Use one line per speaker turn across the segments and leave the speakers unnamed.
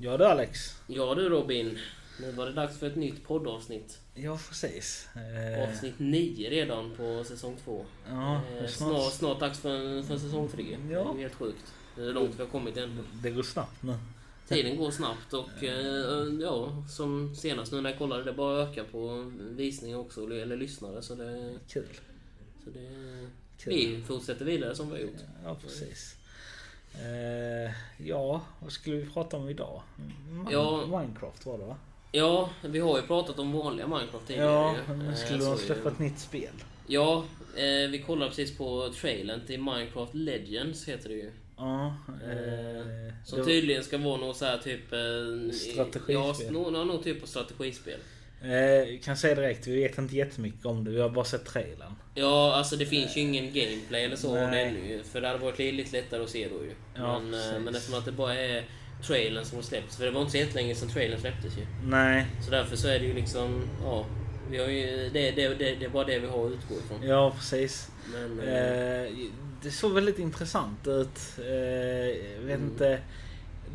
Ja du Alex.
Ja du Robin, nu var det dags för ett nytt poddavsnitt.
Ja precis. Eh,
Avsnitt 9 redan på säsong 2.
Ja, det är Eh, snart-
snart, snart dags för, för säsong 3.
Ja.
Det är helt sjukt. Det är långt vi har kommit än.
Det går snabbt nu.
Tiden går snabbt och eh, ja, som senast nu när jag kollade, det bara ökar på visningar också, eller lyssnare. Så det...
Kul.
Så det
Kul.
vi fortsätter vidare som vi har gjort.
Ja precis. Eh, ja, vad skulle vi prata om idag? Min-
Ja.
Minecraft var det va?
Ja, vi har ju pratat om vanliga Minecraft tidigare.
Ja,
ju.
men
Eh,
skulle
så
de
är
släppa
det.
ett nytt spel?
Ja, eh, vi kollade precis på trailern till Minecraft Legends heter det ju.
Ja. Eh,
Eh, Som
det-
tydligen ska vara någon så här typ... eh,
Strategispel.
Ja, någon, någon, någon typ av strategispel.
eh, vi kan säga direkt, vi vet inte jättemycket om det. Vi har bara sett trailern.
Ja, alltså det finns ju ingen gameplay eller så av det
Nej.
ännu ju, För det hade varit lite lättare att se då ju.
Ja,
men, eh,
precis.
men eftersom att det bara är trailern som har släppts. För det var inte så jättelänge sedan trailern släpptes ju.
Nej.
Så därför så är det ju liksom, ja. Vi har ju, det, det, det, det är bara det vi har att utgå ifrån.
Ja precis.
Men, eh,
Eh, det såg väldigt intressant ut. Eh, jag vet
Mm.
inte.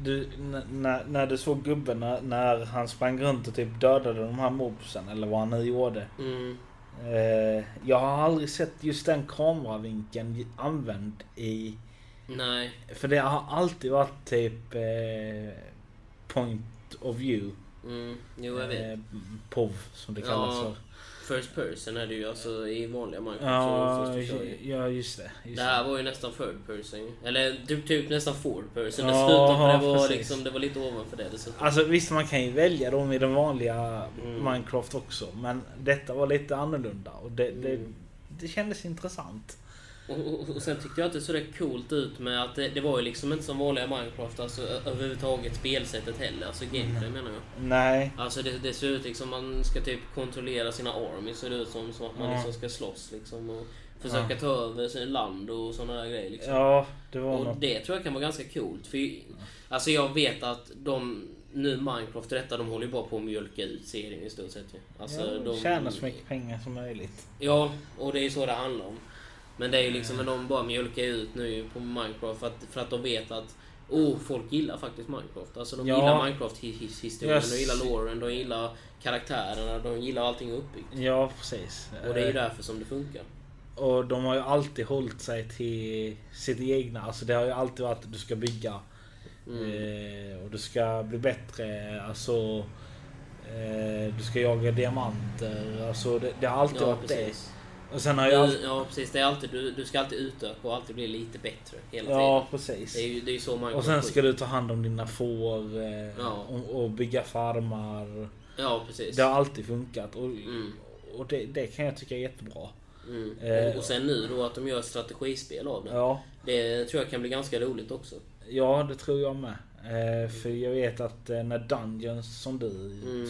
Du, n- när, när du såg gubben när, när han sprang runt och typ dödade de här mobsen eller vad han nu gjorde.
mm,
Eh, jag har aldrig sett just den kameravinkeln använd i...
nej.
För det har alltid varit typ eh, point of view.
Mm, jo, jag vet.
Eh, POV som det
Ja,
kallas för.
First person är det ju alltså i vanliga Minecraft. så
Ja,
först du kör
ju-
ju.
ja just det. Just
Det här var ju nästan third person ju. Eller typ, typ nästan fourth person
Ja,
dessutom. För det var,
precis.
liksom, det var lite ovanför det dessutom.
Alltså visst man kan ju välja dem i den vanliga
Mm.
Minecraft också men detta var lite annorlunda och det, det,
Mm.
det kändes intressant.
Och, och, och sen tyckte jag att det såg rätt coolt ut med att det, det var ju liksom inte som vanliga Minecraft. Alltså ö- överhuvudtaget spelsättet heller. Alltså
Mm.
gameplay menar jag.
Nej.
Alltså det, det ser ut liksom man ska typ kontrollera sina armies ser det ut som, som att man
Ja.
liksom ska slåss liksom och försöka
Ja.
ta över sin land och sådana där grejer liksom.
Ja, det var
Och
något.
det tror jag kan vara ganska coolt för alltså jag vet att de nu Minecraft och detta de håller ju bara på att mjölka ut serien i stort sett ju. Alltså
ja,
de
Tjäna så mycket pengar som möjligt.
Ja, och det är ju så det handlar om. Men det är ju liksom när de bara mjölkar ut nu ju på Minecraft för att, för att de vet att Oh, folk gillar faktiskt Minecraft. Alltså de
Ja.
gillar Minecraft-historien,
Yes.
de gillar loren, de gillar karaktärerna, de gillar allting uppbyggt.
Ja, precis.
Och det är ju
Eh,
därför som det funkar.
och de har ju alltid hållit sig till sitt egna. Alltså det har ju alltid varit att du ska bygga
Mm.
eh, och du ska bli bättre. Alltså eh, du ska jaga diamanter. Alltså det, det har alltid
Ja,
varit
precis.
det. Och sen har jag
Du, ja, precis. Det är alltid, du, du ska alltid utöka och alltid bli lite bättre hela
Ja,
tiden. Det
precis.
är ju det är ju så Minecraft
Och sen ska
funkar.
du ta hand om dina får eh,
Ja.
och, och bygga farmar.
Ja, precis.
Det har alltid funkat och,
Mm.
och det, det kan jag tycka är jättebra.
Mm.
Eh,
Och, och sen nu då att de gör strategispel av det.
Ja,
Det tror jag kan bli ganska roligt också.
ja det tror jag med. Eh, för jag vet att eh, när Dungeons som du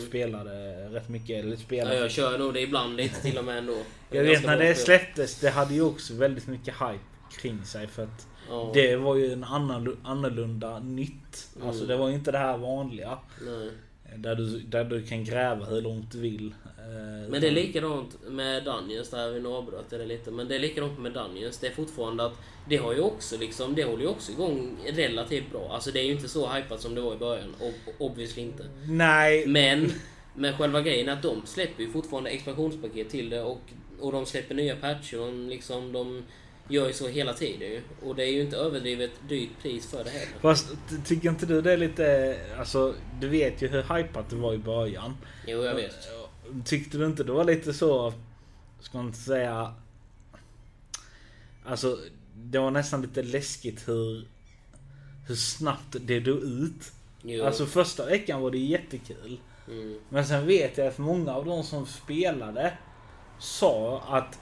spelade rätt mycket, eller
Mm. Ja,
spelade...
jag kör nog det ibland lite till och med ändå. Det är
jag vet
ganska
när
bra
det
spel.
släpptes, det hade ju också väldigt mycket hype kring sig för att
Ja,
det var ju en annan, annorlunda nytt.
Mm.
Alltså det var ju inte det här vanliga.
nej.
Där du, där du kan gräva hur långt du vill. Eh,
Men det är likadant med Dungeons, där vi nu avbröt det lite. Men det är likadant med Dungeons. Det är fortfarande att det har ju också liksom, det håller ju också igång relativt bra. Alltså det är ju inte så hypat som det var i början. Ob- obviously inte.
Nej,
Men, men själva grejen är att de släpper ju fortfarande expansionspaket till det och, och de släpper nya patcher. Och de liksom, de gör ju så hela tiden ju. Och det är ju inte överdrivet dyrt pris för det heller.
fast ty- tycker inte du det är lite... Alltså, du vet ju hur hypat det var i början.
Jo, jag vet.
Tyckte du inte det var lite så... Ska man inte säga... Alltså, det var nästan lite läskigt hur... Hur snabbt det dog ut.
Jo.
Alltså första veckan var det jättekul.
Mm.
Men sen vet jag att många av de som spelade sa att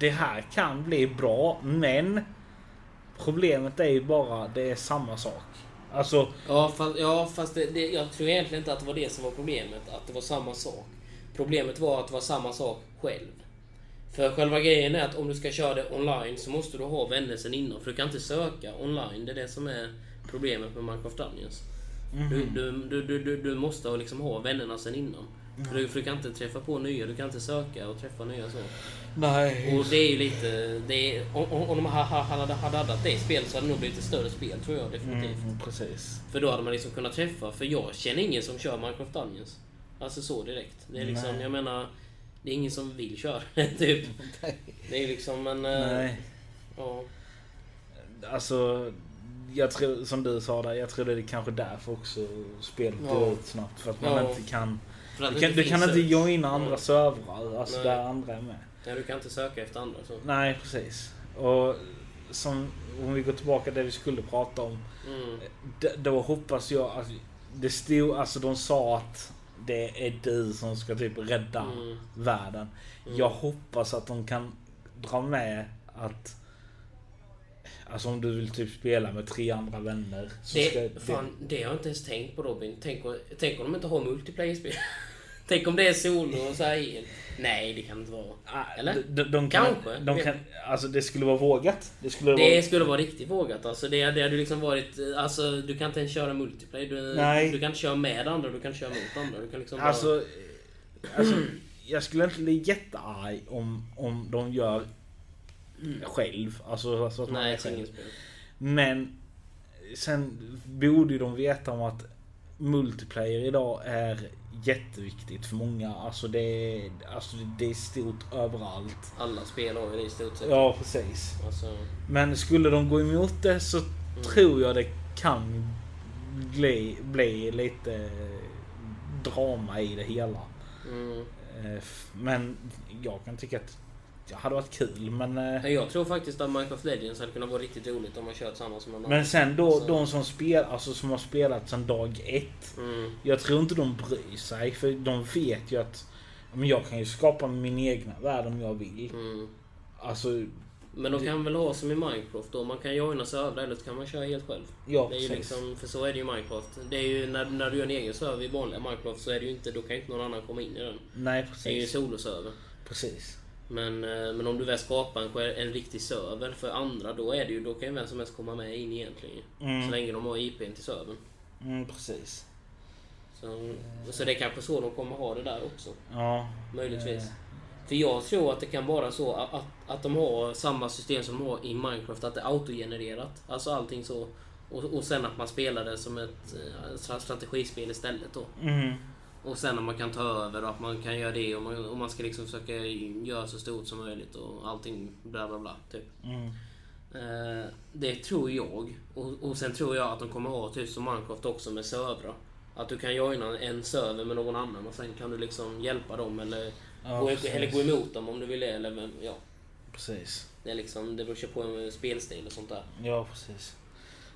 det här kan bli bra men problemet är ju bara det är samma sak. Alltså,
Ja, fast, ja, fast det, det, jag tror egentligen inte att det var det som var problemet. Att det var samma sak. Problemet var att det var samma sak själv. För själva grejen är att om du ska köra det online så måste du ha vänner sen innan. För du kan inte söka online. Det är det som är problemet med Minecraft Dungeons. Du, du, du, du, du, du måste ha liksom ha vännerna sen innan. För du, för du kan inte träffa på nya, du kan inte söka och träffa nya så.
Nej.
Och det är ju lite... Det är, om, om om de ha- ha- hade hade addat det spelet så hade det nog blivit ett större spel, tror jag definitivt.
Mm, precis.
För då hade man liksom kunnat träffa, för jag känner ingen som kör Minecraft Dungeons. Alltså så direkt. Det är liksom,
Nej.
jag menar... Det är ingen som vill köra det, typ. Det är liksom, men... eh,
Nej.
Ja.
Alltså, jag tror, som du sa där, jag tror det är kanske därför också spelet
Ja.
går ut snabbt. För att man
Ja.
inte kan...
För att
Du
det
kan, du
finns
kan inte
sök.
joina andra
Ja.
servrar, alltså
Nej.
där andra är med.
Ja, du kan inte söka efter andra så.
Nej, precis. Och som, om vi går tillbaka till det vi skulle prata om.
Mm.
D- Då hoppas jag att det stod, alltså de sa att det är du som ska typ rädda
Mm.
världen.
Mm.
Jag hoppas att de kan dra med att Alltså om du vill typ spela med tre andra vänner. Så ska
Det, fan, det har jag inte ens tänkt på Robin. Tänk om, tänk om de inte har multiplayer-spel. tänk om det är solo och så här helt. Nej, det kan inte vara.
Ah,
Eller?
De, de kan,
Kanske.
De kan, alltså det skulle vara vågat. Det skulle
Det
vara...
skulle vara riktigt vågat. Alltså det, det hade ju liksom varit... eh, Alltså du kan inte ens köra multiplayer. Du,
Nej.
du kan inte köra med andra, du kan inte köra mot andra. Du kan liksom bara,
Alltså, eh, alltså jag skulle inte bli jättearg om, om de gör själv. Alltså så att man
Mm. Nej,
är själv.
singelspel.
Men sen borde ju de veta om att multiplayer idag är jätteviktigt för många. Alltså det är, alltså det är stort överallt.
Alla spel har ju det i stort sett.
Ja, precis.
Alltså,
Men skulle de gå emot det så
Mm.
tror jag det kan bli, bli lite drama i det hela.
mm.
Eh, f- Men jag kan tycka att det hade varit kul. Men, eh,
Nej, Jag tror faktiskt att Minecraft Legends hade kunnat vara riktigt roligt om man kör tillsammans med någon
men sen då
Så.
de som spelar, alltså som har spelat sedan dag ett.
annan. Mm.
Jag tror inte de bryr sig för de vet ju att men jag kan ju skapa min egna värld om jag vill.
Mm.
Alltså,
Men de kan väl ha som i Minecraft då, man kan joina servrar eller så kan man köra helt själv.
ja
Det är ju
precis.
liksom, för så är det ju i Minecraft. Det är ju när, när du gör en egen server i vanliga Minecraft så är det ju inte, då kan ju inte någon annan komma in i den.
Nej
Det är ju en
precis.
soloserver.
Precis.
Men, eh, men om du väl skapar en, själ- en riktig server för andra, då, är det ju, då kan ju vem som helst komma med in egentligen. Så
Mm,
länge de har IPn till servern.
mm, precis.
Så, så det är kanske så de kommer ha det där också.
Ja.
Möjligtvis.
Eh.
För jag tror att det kan vara så att, att, att de har samma system som de har i Minecraft, att det är autogenererat. Alltså allting så. Och, och sen att man spelar det som ett eh, stra- strategispel istället då.
Mm.
Och sen att man kan ta över och att man kan göra det och man, och man ska liksom försöka göra så stort som möjligt och allting bla bla bla. Typ.
Mm.
Eh, det tror jag. Och, och sen tror jag att de kommer ha typ som Minecraft också med servrar. Att du kan joina en server med någon annan och sen kan du liksom hjälpa dem eller,
Ja,
gå,
precis.
eller gå emot dem om du vill det. Eller, vem- ja.
Precis.
Det, är liksom, det beror ju på en spelstil och sånt där.
Ja, precis.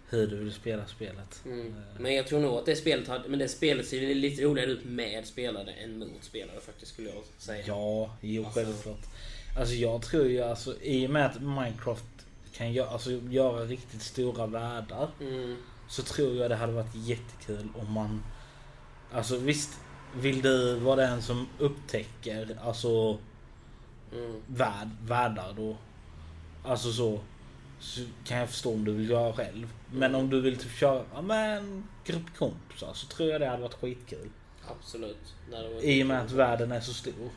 Hur du vill spela spelet.
Mm. Men jag tror nog att det spelet hade, men det spelet ser lite roligare ut med spelare än mot spelare faktiskt skulle jag säga.
Ja, jo
Alltså-
självklart. Alltså jag tror ju alltså i och med att Minecraft kan göra, alltså, göra riktigt stora världar.
Mm.
Så tror jag det hade varit jättekul om man... Alltså visst, vill du vara den som upptäcker alltså
Mm.
värld, världar då? Alltså så. Så kan jag förstå om du vill göra själv. Men om du vill typ köra ja, med en grupp kompisar så tror jag det hade varit skitkul.
Absolut. När det var-
I och med att världen är så stor.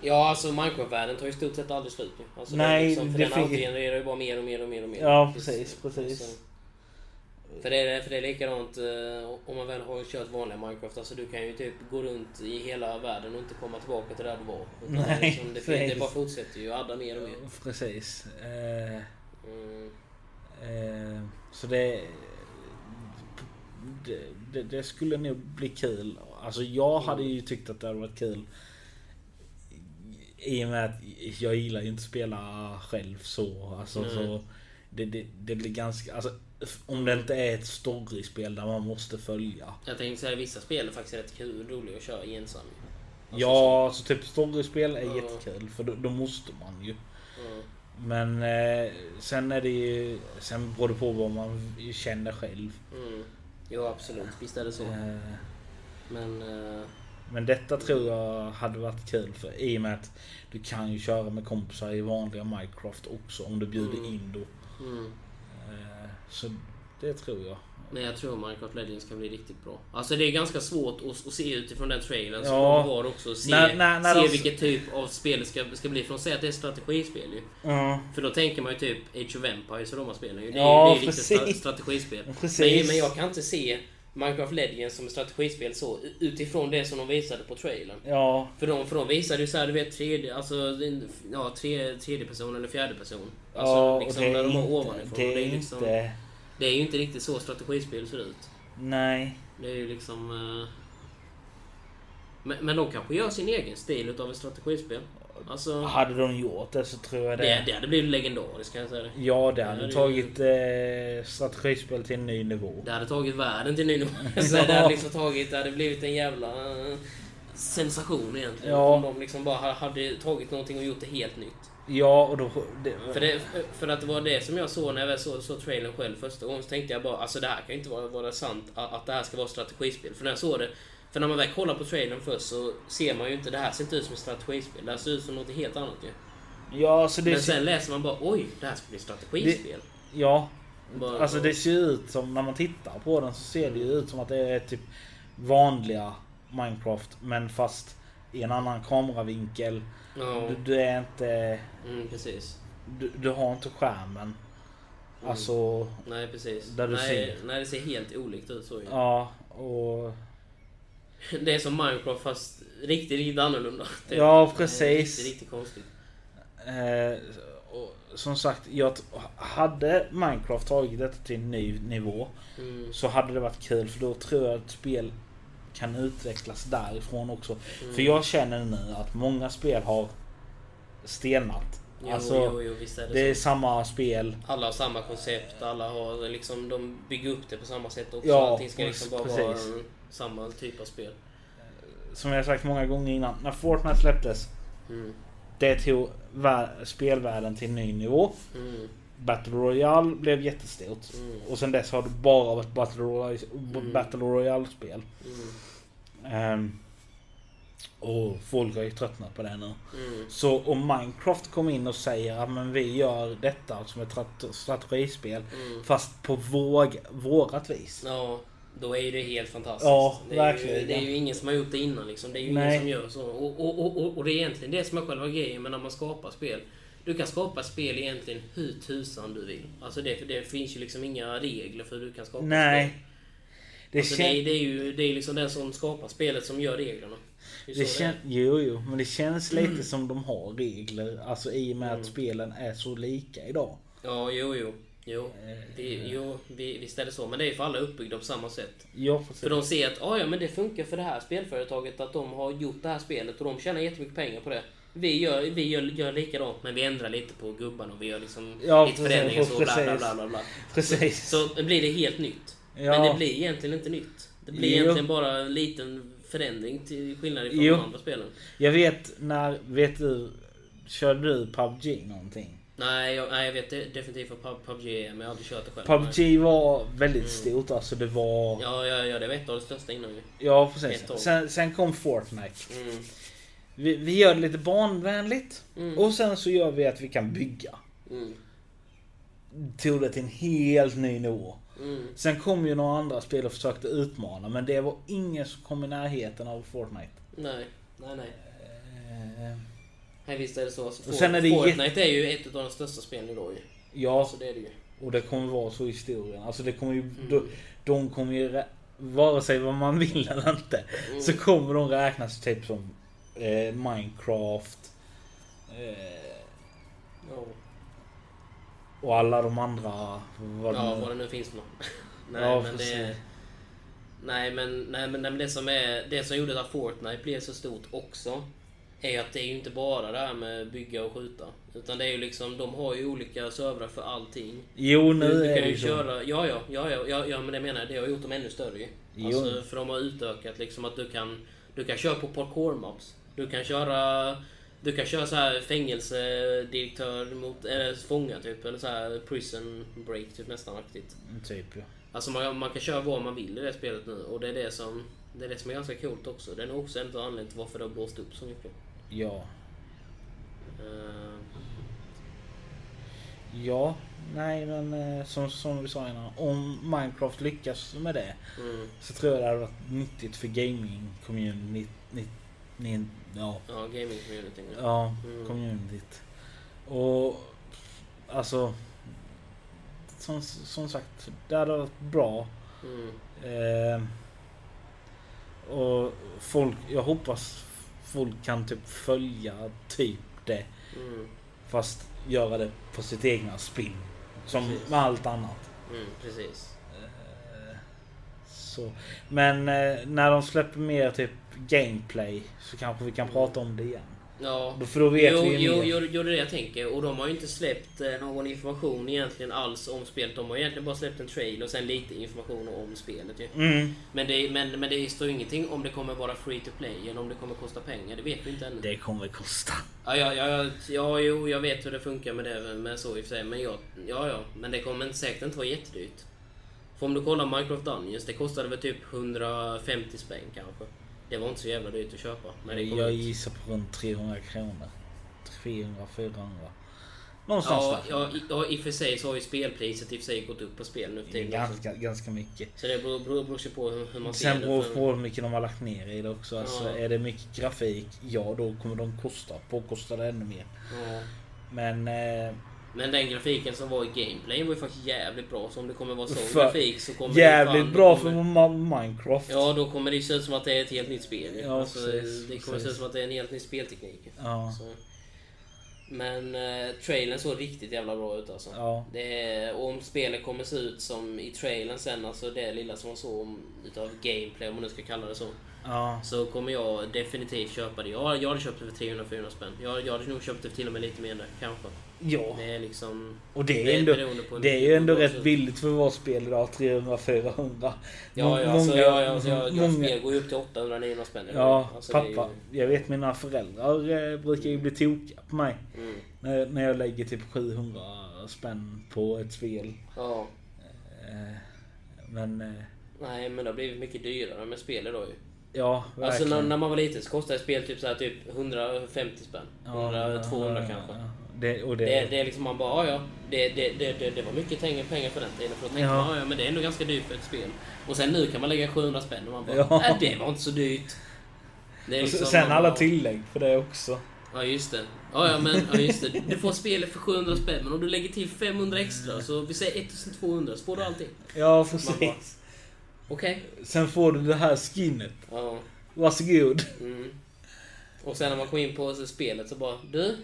Ja, alltså Minecraft-världen tar ju i stort sett aldrig slut nu. Alltså,
Nej,
det är liksom, för
det
den
fin-
autogenererar ju bara mer och mer och mer och mer. alltså.
Ja, precis, precis.
för, det är, för det är likadant eh, om man väl har kört vanliga Minecraft. Alltså du kan ju typ gå runt i hela världen och inte komma tillbaka till där du var. Utan det är
Nej,
liksom, det, fin- det
precis.
bara fortsätter ju att adda mer och mer.
Precis. Eh,
Mm.
eh, så det, det, det... Det skulle nog bli kul. Alltså jag hade ju tyckt att det hade varit kul. I och med att jag gillar ju inte att spela själv så. Alltså,
Nej.
så det, det, det blir ganska... Alltså, om det inte är ett storyspel där man måste följa.
Jag tänkte säga vissa spel är faktiskt rätt kul roliga att köra ensam. Alltså,
Ja, alltså typ storyspel är
Ja.
jättekul för då, då måste man ju.
så- mm.
Men eh, sen är det ju... Sen beror det på vad man känner själv.
Mm. Jo absolut, visst är det så.
Eh,
Men... eh,
men detta tror jag hade varit kul för i och med att du kan ju köra med kompisar i vanliga Minecraft också om du bjuder
Mm.
in då.
mm.
Eh, så det tror jag.
Men jag tror Minecraft Legends kan bli riktigt bra. Alltså det är ganska svårt att, att se utifrån den trailern som
Ja.
de har också. Se,
När- när- när
se
de-
vilket typ av spel det ska, ska bli. För de säger att det är strategispel ju.
Ja.
För då tänker man ju typ Age of Empires och de här spelen. ju. Det är,
Ja,
det är riktigt
precis.
stra- strategispel.
Precis.
Men, men jag kan inte se Minecraft Legends som ett strategispel så utifrån det som de visade på trailern.
Ja.
För de, för de visade ju såhär, du vet, tredje, alltså, din- ja, tre, tredje person eller fjärde person. Alltså,
ja,
liksom
och det
när
är
de har
inte...
ovanifrån.
Det är
ju
inte...
liksom, det är ju inte riktigt så strategispel ser ut.
Nej.
Det är ju liksom... eh, Men, men de kanske gör sin egen stil utav ett strategispel. Alltså,
Hade de gjort det så tror jag det.
det, det hade blivit legendariskt kan jag säga. det.
Ja, det
Det
hade
hade
tagit eh, strategispel till en ny nivå.
Det hade tagit världen till ny nivå. Så det hade liksom tagit, det hade blivit en jävla eh, sensation egentligen.
Ja.
Om de liksom bara ha- hade tagit någonting och gjort det helt nytt.
Ja, och då... Det,
För, det, för att det var det som jag såg när jag väl såg, såg trailern själv första gången så tänkte jag bara alltså det här kan ju inte vara, vara sant att, att det här ska vara strategispel. För när jag såg det, för när man väl kollar på trailern först så ser man ju inte det här ser inte ut som ett strategispel. Det här ser ut som något helt annat ju.
ja, så det...
Men sen läser man bara oj det här ska bli strategispel.
Ja.
Bara-
Alltså det ser ju ut som, när man tittar på den så ser det ju ut som att det är typ vanliga Minecraft men fast i en annan kameravinkel.
Ja,
Du, du är inte...
mm, precis.
Du, du har inte skärmen. Alltså...
Nej precis.
Där du
nej,
ser.
nej det ser helt olikt ut så ju.
Ja, och...
Det är som Minecraft fast riktigt, riktigt annorlunda. Det är
Ja, precis.
Riktigt, riktigt konstigt.
Eh, och som sagt, jag t- hade Minecraft tagit detta till en ny nivå
Mm.
så hade det varit kul för då tror jag att spel kan utvecklas därifrån också.
Mm.
För jag känner nu att många spel har stelnat.
Jo,
alltså,
jo, jo, visst är det,
det är
så.
samma spel.
Alla har samma koncept, alla har liksom, de bygger upp det på samma sätt också.
Ja,
Allting ska liksom bara vara
precis.
mm, samma typ av spel.
Som jag sagt många gånger innan. När Fortnite släpptes,
Mm.
det tog vär- spelvärlden till en ny nivå.
Mm.
Battle Royale blev jättestort.
Mm.
Och sen dess har det bara varit Battle Royale,
Mm.
Battle Royale-spel.
Mm.
Ehm, och folk har ju tröttnat på det nu.
Mm.
Så om Minecraft kommer in och säger att men vi gör detta som ett trat- strategispel
Mm.
fast på våg, vårat vis.
Ja, då är ju det helt fantastiskt.
Ja,
det, är ju,
verkligen.
det är ju ingen som har gjort det innan liksom. Det är ju
Nej.
ingen som gör så. Och, och, och, och, och det är egentligen det som är själva grejen med när man skapar spel. Du kan skapa spel egentligen hur tusan du vill. Alltså det, för det finns ju liksom inga regler för hur du kan skapa spel.
Nej. Det,
Alltså det, är,
kän-
det är ju det är liksom den som skapar spelet som gör reglerna. Det är
det
så det är. Mm.
kän- jo, jo, men det känns lite som de har regler. Alltså i och med att spelen är så lika idag.
Ja, jo, jo. Jo,
Eh,
vi, jo vi, visst är det så. Men det är ju för alla uppbyggda på samma sätt.
Ja,
För
precis.
de ser att ah, ja, men det funkar för det här spelföretaget att de har gjort det här spelet och de tjänar jättemycket pengar på det. Vi gör, vi gör, gör likadant men vi ändrar lite på gubbarna och vi gör liksom
Ja,
lite
precis,
förändringar så bla, bla
precis.
bla bla bla.
precis.
Så blir det helt nytt.
Ja.
Men det blir egentligen inte nytt. Det blir
Jo.
egentligen bara en liten förändring till skillnad från
Jo.
de andra spelen.
Jag vet när, vet du, körde du PubG någonting?
Nej jag, nej, jag vet det, definitivt vad Pub- PubG är men jag har aldrig kört det själv. Nej. Mm.
PubG var väldigt stort alltså det var...
Ja, ja, ja, det var ett av de största innan ju.
Ja
Ett år.
precis. Sen, sen kom Fortnite.
Mm.
Vi, vi gör det lite barnvänligt.
Mm.
Och sen så gör vi att vi kan bygga.
Mm.
Tog det till en helt ny nivå.
Mm.
Sen kom ju några andra spel och försökte utmana men det var ingen som kom i närheten av Fortnite.
Nej, nej, nej.
Eh,
Nej visst är det så. Alltså,
Och sen är det
Fortnite är ju ett av de största spelen idag ju.
Ja,
Alltså det är det ju.
och det kommer vara så i historien. Alltså det kommer ju...
Mm.
De, de kommer ju... rä- Vare sig vad man vill eller inte
Mm.
så kommer de räknas typ som eh, Minecraft eh,
Ja,
och alla de andra... Vad
ja
nu-
vad det nu finns för något. nej,
Ja,
men det,
precis.
nej, men, nej, men, nej men det som är det som gjorde att Fortnite blev så stort också är ju att det är ju inte bara det här med bygga och skjuta. Utan det är ju liksom, de har ju olika servrar för allting.
Jo, nu
Du, du
är
kan
det
ju
ju så.
köra, ja ja, ja ja, ja, ja men det menar jag, det har gjort dem ännu större ju.
Jo.
Alltså, för de har utökat liksom att du kan, du kan köra på parkour maps. Du kan köra, du kan köra så här fängelsedirektör mot, eller fånga typ, eller så här prison break typ nästan aktigt.
Typ, ja.
Alltså man, man kan köra vad man vill i det spelet nu och det är det som, det är det som är ganska coolt också. Det är nog också en av anledningarna till varför det har blåst upp så mycket.
Ja.
Eh,
Ja. Nej men eh, som, som vi sa innan, om Minecraft lyckas med det
Mm.
så tror jag det hade varit nyttigt för gaming community. Ni, ni, ja,
Ja, gaming-communityn. Ja.
ja
Mm.
communityt. Och alltså som, som sagt, det hade varit bra.
Mm.
Eh, och folk, jag hoppas folk kan typ följa typ det
Mm.
fast göra det på sitt egna spin. Som
Precis.
med allt annat.
Mm. Precis.
Eh, Så. Men eh, när de släpper mer typ gameplay så kanske vi
Mm.
kan prata om det igen.
Ja.
Då- För då vet
jo,
vi ju
jo,
mer.
jo, jo, det är det jag tänker. Och de har ju inte släppt eh, någon information egentligen alls om spelet. De har egentligen bara släppt en trailer och sen lite information om spelet ju.
Mm.
Men det, men, men det står ju ingenting om det kommer vara free to play eller om det kommer kosta pengar. Det vet vi inte ännu.
Det kommer kosta.
Ja, ja, ja, ja, jo, jag vet hur det funkar med det med så i och för sig. Men jag, ja, ja, men det kommer inte- säkert inte vara jättedyrt. För om du kollar Minecraft Dungeons, det kostade väl typ 150 spänn kanske. Det var inte så jävla dyrt att köpa. Men det kom
jag
ut.
gissar på runt 300 kronor. 300, 400. Någonstans
Ja,
där.
ja, i, ja, i och för sig så har ju spelpriset i och för sig gått upp på spel nu för tiden. också.
ganska, ganska mycket.
Så det beror, beror, beror sig på hur, hur man
Sen
ser
beror
det.
det på hur mycket de har lagt ner i det också. Alltså,
Ja.
Är det mycket grafik, ja då kommer de kosta. Påkosta det ännu mer.
Ja.
Men eh,
Men den grafiken som var i gameplay var ju faktiskt jävligt bra. Så om det kommer vara sån
För-
grafik så kommer det
jävligt
fan-
bra
kommer-
för Ma- Minecraft.
Ja, då kommer det se ut som att det är ett helt nytt spel. ju.
Ja,
alltså,
precis,
det kommer se ut
precis.
som att det är en helt ny spelteknik. ju.
Ja.
Så. Men eh, trailern såg riktigt jävla bra ut alltså.
Ja.
Det är, och om spelet kommer se ut som i trailern sen, alltså det lilla som man såg om, utav gameplay om man nu ska kalla det så.
Ja.
Så kommer jag definitivt köpa det. Jag, jag hade köpt det för 300-400 spänn. Jag, jag hade nog köpt det för till och med lite mer än det, kanske.
ja.
Det är liksom...
Och det
det
är,
är
ändå,
beroende på-
det är ju ändå
på-
rätt billigt för vårt spel idag. 300-400.
Ja, ja, alltså, ja, ja, alltså, jag, jag, spel går ju upp till 800-900 spänn.
Ja,
alltså, det är ju-
pappa. Jag vet mina föräldrar eh, brukar ju bli tokiga på mig.
Mm.
När, när jag lägger typ 700 spänn på ett spel.
Ja.
Eh, Men eh,
Nej, men det har blivit mycket dyrare med spel idag ju.
ja,
Alltså
verkligen.
när, när man var liten så kostade ett spel typ, så här, typ 150 spänn. 100, 200 kanske.
ja. Det, och det,
Det, det är liksom man bara, ja, ja. Det, det, det, det, det var mycket pengar- pengar för den tiden. För då tänkte
Ja.
man, "Ah, ja, ja, men det är ändå ganska dyrt för ett spel. Och sen nu kan man lägga 700 spänn och man bara,
Ja.
nej det var inte så dyrt. Det är
och
liksom-
s- sen
man
alla
bara,
tillägg för det också.
Ja just det. Ja, ja, men, ja just det. Du får spelet för 700 spänn men om du lägger till 500 extra så vi säger 1200 så får du allting.
Ja,
Man
precis.
Okej.
Sen får du det här skinnet.
Ja.
Varsågod.
Mm. Och sen när man kom in på spelet så bara Du,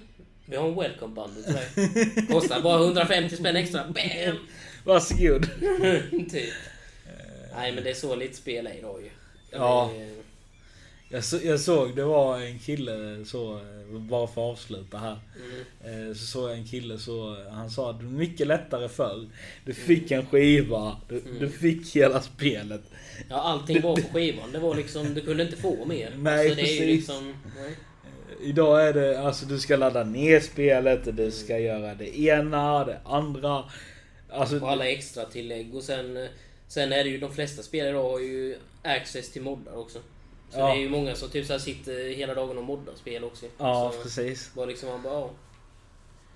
vi har en welcome bundle till dig. Kostar bara 150 spänn extra. Bam!
Varsågod.
typ. Nej men det är så lite spel är idag ju.
Ja.
Det är-
Jag, så, jag såg, det var en kille så, eh, bara för att avsluta här.
Mm.
Eh, Så såg jag en kille så, han sa att det var mycket lättare förr. Du fick en skiva, du,
Mm.
du fick hela spelet.
Ja, allting var på skivan. Det var liksom, du kunde inte få mer.
Nej,
alltså, det är ju
precis.
liksom... Nej.
Eh, Idag är det, alltså du ska ladda ner spelet,
Mm.
och du ska göra det ena, det andra.
Och
Alltså,
alla extra tillägg och sen... Sen är det ju de flesta spelare idag har ju access till moddar också. Så
Ja.
det är ju många som typ så här sitter hela dagen och moddar spel också.
ja
så,
precis.
bara liksom man bara, ja.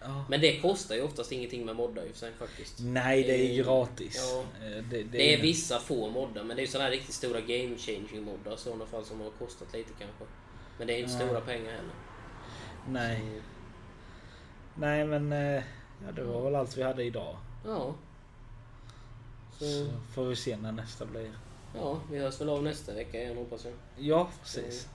Ja.
Men det kostar ju oftast ingenting med moddar i och för sig faktiskt.
Nej, det är
Eh,
gratis.
ja.
Eh, Det,
Det är vissa få moddar, men det är ju sådana här riktigt stora game changing moddar i sådana fall som har kostat lite kanske. Men det är inte
Ja.
stora pengar heller.
Nej.
Mm.
Nej men eh, ja, det var väl allt vi hade idag.
Ja. Så,
Så får vi se när nästa blir.
ja, vi hörs väl av nästa vecka igen hoppas jag.
Ja precis.